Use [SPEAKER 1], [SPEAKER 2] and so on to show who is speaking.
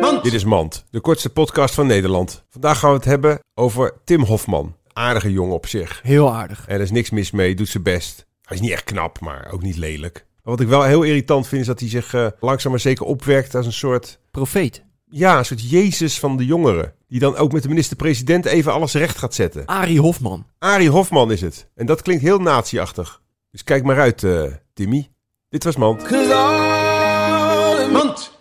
[SPEAKER 1] Mand.
[SPEAKER 2] Dit is Mand, de kortste podcast van Nederland. Vandaag gaan we het hebben over Tim Hofman. Aardige jongen op zich.
[SPEAKER 1] Heel aardig.
[SPEAKER 2] Er is niks mis mee, doet zijn best. Hij is niet echt knap, maar ook niet lelijk. Maar wat ik wel heel irritant vind, is dat hij zich eh, langzaam maar zeker opwerkt als een soort...
[SPEAKER 1] Profeet.
[SPEAKER 2] Ja, een soort Jezus van de jongeren. Die dan ook met de minister-president even alles recht gaat zetten.
[SPEAKER 1] Arie Hofman.
[SPEAKER 2] Arie Hofman is het. En dat klinkt heel natieachtig. Dus kijk maar uit, eh, Timmy. Dit was Mand.
[SPEAKER 3] Mand.